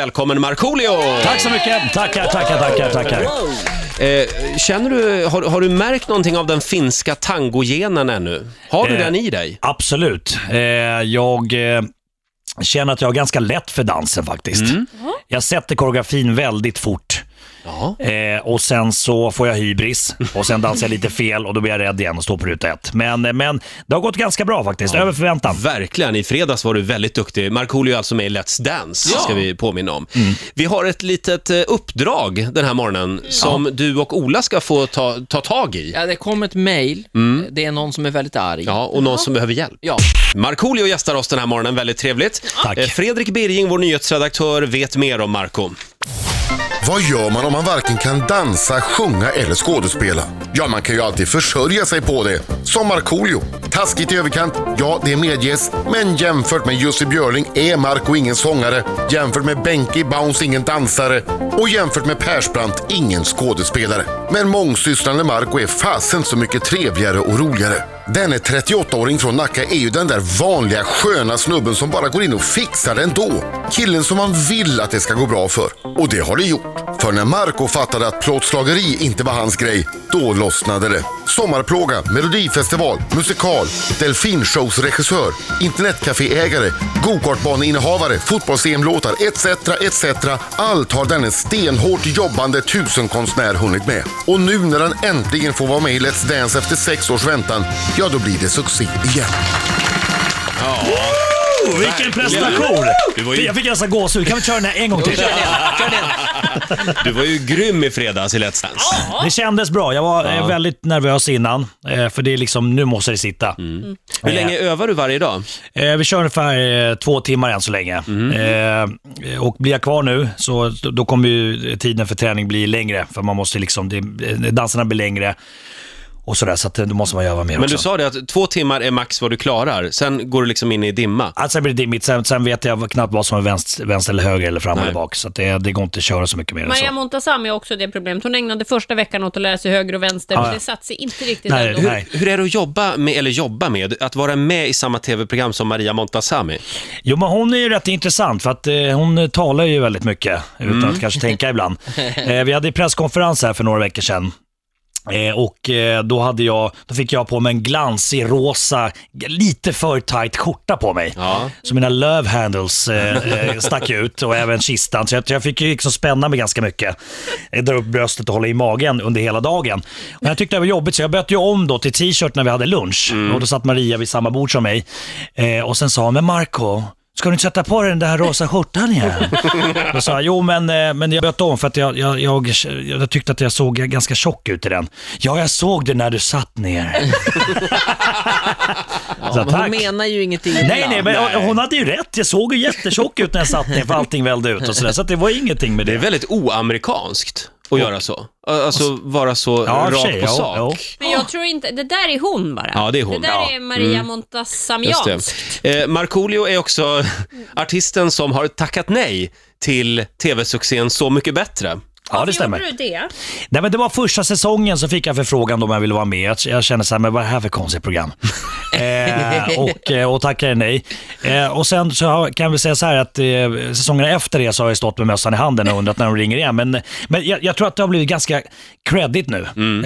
Välkommen Markoolio! Tack så mycket! Tackar, tackar, tackar, tackar. Eh, känner du, har, har du märkt någonting av den finska tangogenen ännu? Har du Eh. den i dig? Absolut. Eh, jag eh, känner att jag har ganska lätt för dansen faktiskt. Jag sätter koreografin väldigt fort. Ja. Eh, och sen så får jag hybris och sen dansar jag lite fel och då blir jag rädd igen och står på ruta ett. Men, eh, men det har gått ganska bra faktiskt, över förväntan. Verkligen, i fredags var du väldigt duktig. Markoolio är alltså med i Let's Dance, Ja. ska vi påminna om. Vi har ett litet eh, uppdrag den här morgonen som du och Ola ska få ta, ta tag i. Ja, det kom ett mejl. Mm. Det är någon som är väldigt arg. Ja, och någon som behöver hjälp. Ja. Markoolio gästar oss den här morgonen, väldigt trevligt. Tack. Eh, Fredrik Birging, vår nyhetsredaktör, vet mer om Marco. Vad gör man om man varken kan dansa, sjunga eller skådespela? Ja, man kan ju alltid försörja sig på det. Som Markoolio. Taskigt i överkant, ja det medges. Men jämfört med Jussi Björling är Marco ingen sångare. Jämfört med Benke Bounce ingen dansare. Och jämfört med Persbrandt ingen skådespelare. Men mångsysslande Marco är fasen så mycket trevligare och roligare. Denne 38-åring från Nacka är ju den där vanliga sköna snubben som bara går in och fixar det ändå. Killen som man vill att det ska gå bra för. Och det har det gjort. För när Marco fattade att plåtslageri inte var hans grej, då lossnade det. Sommarplåga, melodifestival, musikal, delfinshowsregissör, internetcaféägare, gokartbaneinnehavare, fotbolls-EM-låtar etc. etc. Allt har denne stenhårt jobbande tusenkonstnär hunnit med. Och nu när han äntligen får vara med i Let's Dance efter sex års väntan, ja då blir det succé igen. Oh, vilken prestation! Jag fick nästan gåshud. Kan vi köra den här en gång till? Du var ju grym i fredags i Let's Dance. Det kändes bra. Jag var eh, Ja. väldigt nervös innan, eh, för det är liksom, nu måste det sitta. Hur länge övar du varje dag? Eh, vi kör ungefär eh, två timmar än så länge. Mm. Eh, och blir jag kvar nu, så då kommer ju tiden för träning bli längre. För man måste liksom, det, danserna blir längre och sådär, så att eh, då måste man göra mer Men också. du sa det att två timmar är max vad du klarar, sen går du liksom in i dimma. Alltså, sen blir det dimmigt, sen, sen vet jag knappt vad som är vänster, vänster eller höger eller fram eller bak. Så att det, det går inte att köra så mycket mer än så. Maja Montazami har också det problemet. Hon ägnade första veckan åt att lära sig höger och vänster, Ja, men ja. det satt sig inte riktigt Nej, ändå. nej. Hur är det att jobba med, eller jobba med, att vara med i samma tv-program som Maria Montazami? Jo, men hon är ju rätt intressant för att eh, hon talar ju väldigt mycket utan att kanske tänka ibland. Eh, vi hade ju presskonferens här för några veckor sedan. Eh, och eh, då, hade jag, då fick jag på mig en glansig rosa, lite för tajt skjorta på mig. Ja. Så mina love handles eh, eh, stack ut och även kistan. Så jag, jag fick ju liksom spänna mig ganska mycket. Eh, Dra upp bröstet och hålla i magen under hela dagen. Och jag tyckte det var jobbigt så jag bytte ju om då till t-shirt när vi hade lunch. Och då satt Maria vid samma bord som mig. Eh, och sen sa hon, men Marco Ska du inte sätta på dig den där rosa skjortan igen? Då sa jag, jo men, eh, men jag bytte om för att jag, jag, jag, jag tyckte att jag såg ganska tjock ut i den. Ja, jag såg det när du satt ner. Ja, Så men tack. hon menar ju ingenting illa. Nej, nej, men hon- hon hade ju rätt. Jag såg ju jättetjock ut när jag satt ner för allting vällde ut och sådär. Så att det var ingenting med Det är det. väldigt oamerikanskt att göra så. Alltså vara så Ja, rakt tjej, på ja, sak. ja. Men jag tror inte, det där är hon bara. Ja, det är hon. Det där Ja. är Maria mm. Just det. Montazamiansk. Eh, Markoolio är också artisten som har tackat nej till tv-succén Så mycket bättre. Ja, det Varför stämmer. Gjorde du det? Nej, men det var första säsongen så fick jag förfrågan då om jag ville vara med. Jag- Jag kände så här, men vad är det här för konstigt program? eh, och, eh, och tackade nej. Eh, och sen så har- kan vi säga så här att eh, säsongen efter det så har jag stått med mössan i handen och undrat när de ringer igen. Men, men jag, jag tror att det har blivit ganska credit nu. Mm.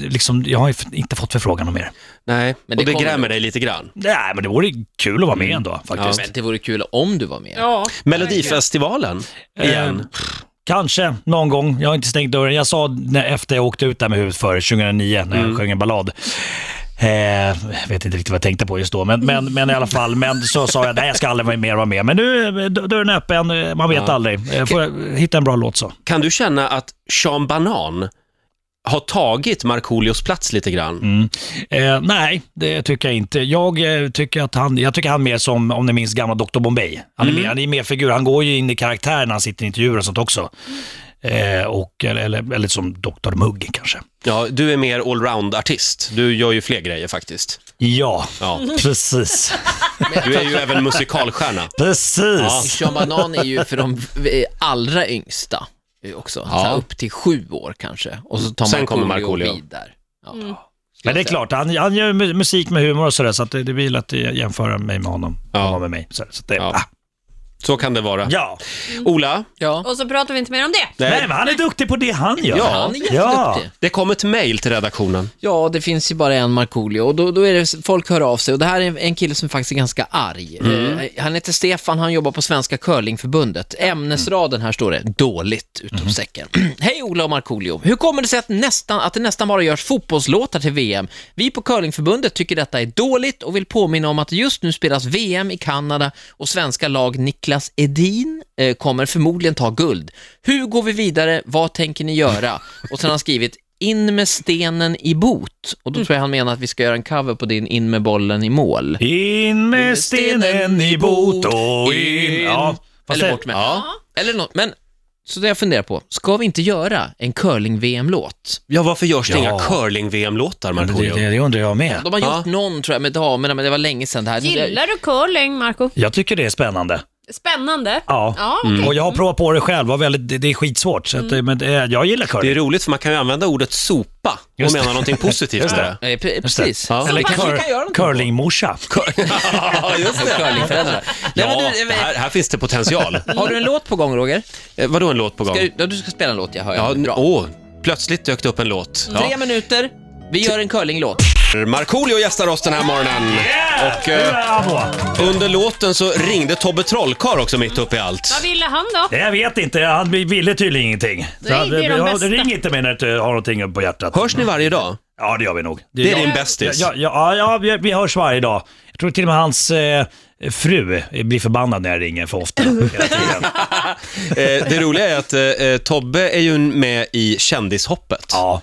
Eh, liksom, jag har ju f- inte fått förfrågan om mer. Nej, Men och det det kommer- grämer dig lite grann. Nej, men det vore kul att vara med ändå Ja, faktiskt. men det vore kul om du var med. Ja. Melodifestivalen, igen. Eh, pff, Kanske, någon gång. Jag har inte stängt dörren. Jag sa när, efter jag åkte ut där med huvudet före, 2009, när jag sjöng en ballad. Eh, jag vet inte riktigt vad jag tänkte på just då, men, men, men i alla fall. Men så sa jag, nej jag ska aldrig vara mer vara med. Men nu är d- dörren öppen, eh, man vet aldrig. Eh, Får jag hitta en bra låt så. Kan du känna att Sean Banan har tagit Markoolios plats lite grann? Eh, nej, det tycker jag inte. Jag, eh, tycker att han, jag tycker han mer som, om ni minns, gamla Dr. Bombay. Han är, mer, han är mer figur. Han går ju in i karaktär när han sitter i intervjuer och sånt också. Eh, och, eller, eller, eller som Dr. Mugg kanske. Ja, du är mer allround-artist. Du gör ju fler grejer faktiskt. Ja, Ja. precis. Du är ju även musikalstjärna. Precis. Sean Banan är ju för de eh, allra yngsta eh, också. Så här, upp till sju år kanske. Och så tar Sen kommer Markoolio. Markoolio vid där. Ja. Men det är klart, han, han gör mu- musik med humor och sådär, så att det, det blir lätt att jämföra mig med honom. Ja. Honom med mig. Så, så att det, Ja. ah, Så kan det vara. Ja. Ola? Ja. Och så pratar vi inte mer om det. Nej, men han är duktig på det han gör. Ja. Han är jätteduktig. Ja. Det kom ett mejl till redaktionen. Ja, det finns ju bara en Markoolio och då, då är det, folk hör av sig och det här är en kille som faktiskt är ganska arg. Eh, Han heter Stefan, han jobbar på Svenska Curlingförbundet. Ämnesraden här står det, dåligt, utom säcken. Hej Ola och Markoolio, hur kommer det sig att, nästan, att det nästan bara görs fotbollslåtar till VM? Vi på Curlingförbundet tycker detta är dåligt och vill påminna om att just nu spelas VM i Kanada och svenska lag Niklas Edin eh, kommer förmodligen ta guld. Hur går vi vidare? Vad tänker ni göra? Och sen har han skrivit, in med stenen i bot. Och Mm. då tror jag han menar att vi ska göra en cover på din In med bollen i mål. In med stenen i bot och in... Ja, fast Eller det- bort med. Eller något. Men, så det jag funderar på, ska vi inte göra en curling-VM-låt? Ja, varför görs det Ja. inga curling-VM-låtar, Men det, Markoolio? det, det undrar jag med. De har Ja. gjort någon tror jag med damerna, men det var länge sedan det här. Så det- Gillar du curling, Marco? Jag tycker det är spännande. Spännande. Ja. Mm. Ja, okej. Mm. Och jag har provat på det själv, var väldigt, det, det är skitsvårt. Så Mm. att, men, eh, jag gillar Det är curling. roligt, för man kan ju använda ordet sopa och Just det. mena någonting positivt med det. Eh, pre- Precis. Ja. Eller kanske vi cur- kan göra någonting på. curlingmorsa. Ja, just Curlingföräldrar. Nej, men Ja, du, eh, det här, här finns det potential. Har du en låt på gång, Roger? Eh, Vadå en låt på gång? Ska du, ja, du ska spela en låt, jag hör. Ja, Ja, n- Bra. åh, plötsligt dök det upp en låt. Tre Ja. minuter, vi gör en curlinglåt. Markoolio gästar oss den här morgonen. Och eh, Bravo! under låten så ringde Tobbe Trollkarl också mitt uppe i Vad allt. ville han då? Nej, Jag vet inte, han ville tydligen ingenting. Så Nej, han- det är de ja, bästa. Ring inte mig när du har någonting på hjärtat. Hörs ni varje dag? Ja, det gör vi nog. Det är jag- din bästis. Ja, ja, ja, ja vi, vi hörs varje dag. Jag tror till och med hans eh, fru blir förbannad när jag ringer för ofta. hela tiden. Eh, Det roliga är att eh, eh, Tobbe är ju med i Kändishoppet. ja.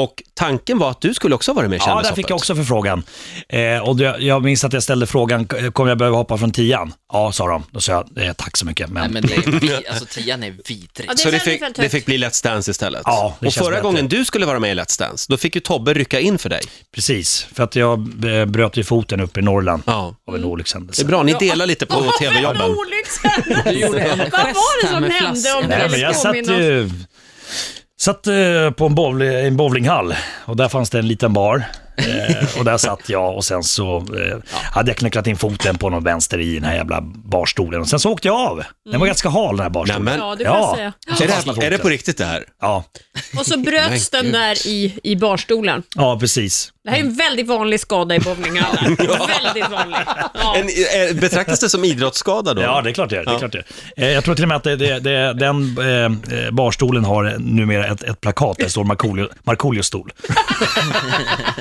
Och tanken var att du skulle också vara med i ja, Kändishoppet. där fick jag också förfrågan. Eh, och jag, jag minns att jag ställde frågan, "K- kommer jag behöva hoppa från tian? Ja, sa de. Då sa jag, eh, tack så mycket. Men, Nej, men det är, vi- alltså tian är vidrig. Ja, det Så det kändes fick, väldigt det högt. fick bli Let's Dance istället. Ja, det och känns förra bättre. gången du skulle vara med i Let's Dance, då fick ju Tobbe rycka in för dig. Precis, för att jag eh, bröt ju foten uppe i Norrland Ja. av en Det olyckshändelse. är bra, ni delar lite på Vad tv-jobben. olyckshändelse. Vad var det här som med hände flaskan. om Nej, men jag Felix satt påminner oss? ju satt, eh, på en, bowl, en bowlinghall och där fanns det en liten bar. Eh, och där satt jag och sen så eh, hade jag knäcklat in foten på någon vänster i den här jävla barstolen. Och sen så åkte jag av. Den var ganska hal den här barstolen. Nämen, Ja, är det får jag Ja. säga. det, är det på riktigt det här? Ja, Och så bröts den där i, i barstolen. ja precis. Det här är en Mm. väldigt vanlig skada i bowlinghallar. Väldigt vanlig. Ja. En, eh, betraktas det som idrottsskada då? Ja, det är klart det är. Det Ja. är klart det. är. Eh, Jag tror till och med att det, det, det, den eh, eh, barstolen har numera ett, ett plakat där det står Markoolio- Markoolios stol.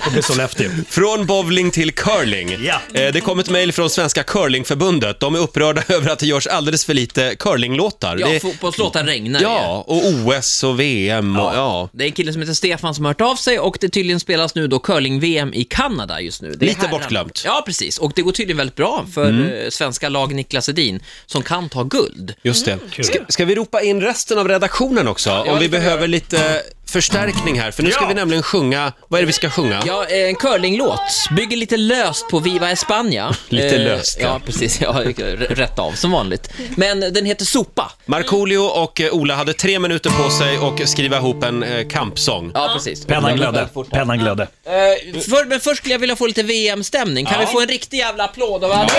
det blir Sollefteå. Från bowling till curling. Ja. Eh, Det kom ett mejl från Svenska Curlingförbundet. De är upprörda över att det görs alldeles för lite curlinglåtar. Ja, det, fotbollslåtar regnar ju. ja och OS och VM och ja. Det är en kille som heter Stefan som har hört av sig och det tydligen spelas nu då curling-VM i Kanada just nu. Det är Lite här- bortglömt. Mm. Ja, precis. Och det går tydligen väldigt bra för eh, svenska lag Niklas Edin som kan ta guld. Just det. Mm, Ska, ska vi ropa in resten av redaktionen också? om det vi kan vi behöver lite förstärkning här, för nu ska Ja. vi nämligen sjunga... Vad är det vi ska sjunga? Ja, eh, en curlinglåt. Bygger lite löst på Viva España. Lite löst, ja. ja. precis. Ja, r- rätt av som vanligt. Men den heter Sopa. Markoolio och eh, Ola hade tre minuter på sig och skriva ihop en eh, kampsång. Ja, precis. Pennan glödde. Pennan glödde. Eh, för, men först skulle jag vilja få lite VM-stämning. Kan vi få en riktig jävla applåd av alla?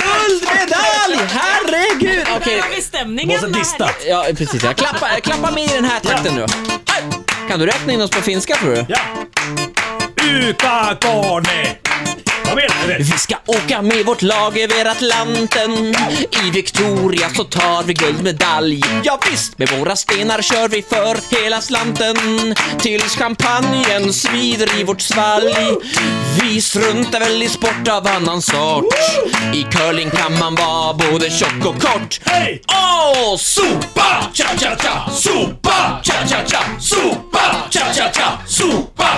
Guldmedalj! Herregud! Okej, Där har vi stämningen. Måste här. dista. ja, precis. Ja. Klappa, klappa med i den här takten nu. Kan du räkna in oss på finska tror du? Ja. Uka Kone. Kom igen nu. Vi ska åka med vårt lag över Atlanten I Victoria så tar vi guldmedalj Ja, visst, med våra stenar kör vi för hela slanten Tills champagnen svider i vårt svalg Vi struntar väl i sport av annan sort I curling kan man vara både tjock och kort Hej! Åh, sopa! Cha-cha-cha! Sopa! Cha-cha-cha! Sopa! Cha-cha-cha! Sopa!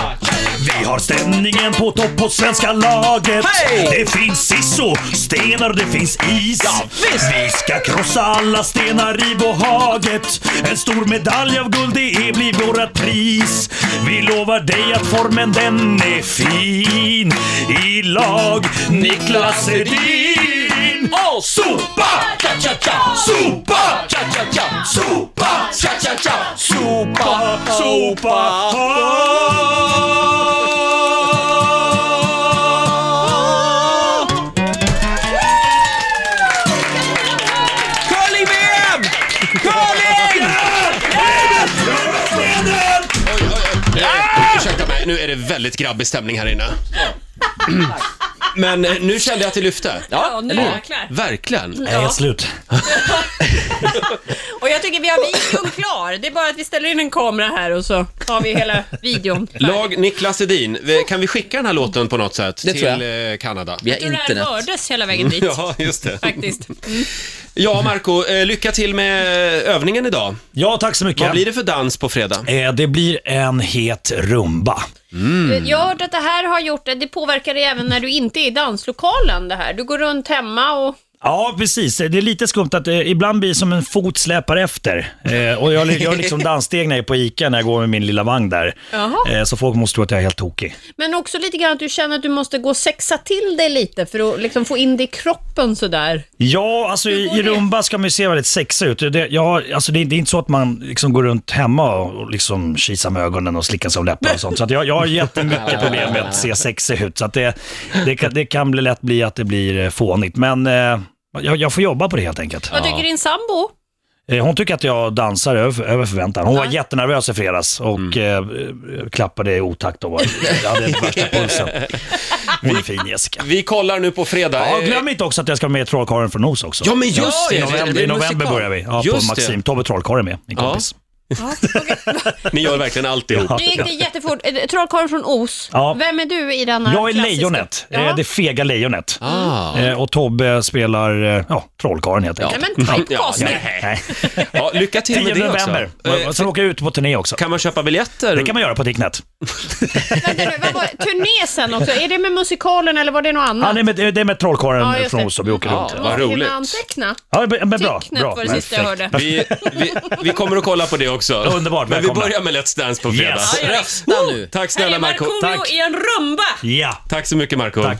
Vi har stämningen på topp på svenska laget. Hej! Det finns sisso, stenar och det finns is. Ja, visst! Vi ska krossa alla stenar i bohaget. En stor medalj av guld, det är blir vårat pris. Vi lovar dig att formen den är fin. I lag, Niklas Edin. Åh, sopa! Cha-cha-cha! Sopa! Cha-cha-cha! Sopa! Cha-cha-cha! Sopa, sopa! Sopa! Eh, nu är det väldigt grabbig stämning här inne. Men eh, nu kände jag att det lyfte. Ja, nu eller hur? jäklar. Mm. Verkligen. Jag är helt slut. Och jag tycker vi har videon klar. Det är bara att vi ställer in en kamera här och så har vi hela videon. Lag Niklas Edin, vi- kan vi skicka den här låten på något sätt Det tror jag. till eh, Kanada? Vi har Jag tror det här internet. hördes hela vägen dit. Ja, just det. Faktiskt. Ja, Marco, eh, lycka till med eh, övningen idag. Ja, tack så mycket. Vad blir det för dans på fredag? Eh, det blir en het rumba. Mm. Eh, Jag har hört att det här har gjort, det påverkar dig även när du inte är i danslokalen det här. Du går runt hemma och... Ja, precis. Det är lite skumt att eh, ibland blir det som en fot släpar efter. Eh, och jag gör liksom danssteg när jag är på ICA när jag går med min lilla vagn där. Jaha. Eh, så folk måste tro att jag är helt tokig. Men också lite grann att du känner att du måste gå och sexa till dig lite för att liksom få in det i kroppen sådär. Ja, alltså i, i rumba ska man ju se väldigt sexig ut. Det, ja, alltså det, är- det är inte så att man liksom går runt hemma och, och liksom kisar med ögonen och slickar sig om läpparna och sånt. Så att jag, jag har jättemycket problem med att se sexig ut. Så att det, det, kan, det kan bli lätt bli att det blir eh, fånigt. Men eh, jag, jag får jobba på det helt enkelt. Vad tycker din sambo? Eh, Hon tycker att jag dansar över, över förväntan. Hon var jättenervös i fredags och eh, eh, klappade i otakt och var, jag hade värsta pulsen. Hon är fin Jessica. Vi kollar nu på fredag. Ja, Eh, glöm inte också att jag ska vara med i Trollkarlen från Os också. Ja, men just I det! det november, blir i november musikal. börjar vi. Ja, på Just Maxim. Tobbe Trollkarlen är med, min Ja. kompis. det. Ni gör verkligen alltihop. Nu gick det jättefort. Eh, Trollkarlen från Os. Ja. Vem är du i den här Jag är klassiska- lejonet, Ja. eh, det fega lejonet. Ah. Eh, Och Tobbe spelar eh, ja, Trollkarlen helt Nej enkelt. men typecast. Ja, Nej. Ja, lycka till 10 med det också. november. Eh, Och Sen åker jag ut på turné också. Kan man köpa biljetter? Det kan man göra på Dicknet. Vänta nu, vad var det? Turné sen också. Är det med musikalen eller var det något annat? Ja, det är med, det är med Ja, Trollkarlen just från det. Os och vi åker runt. Ja, vad Måste hinna roligt. anteckna. Ja, men men bra. Tecknet bra. var det sista jag hörde. Vi, vi, vi kommer att kolla på det också. Underbart, Men vi välkomna. börjar med Let's Dance på fredag. Yes. Rösta nu. Tack Här snälla är Marco. Markoolio Tack. i en rumba! Ja. Tack så mycket Marco. Tack.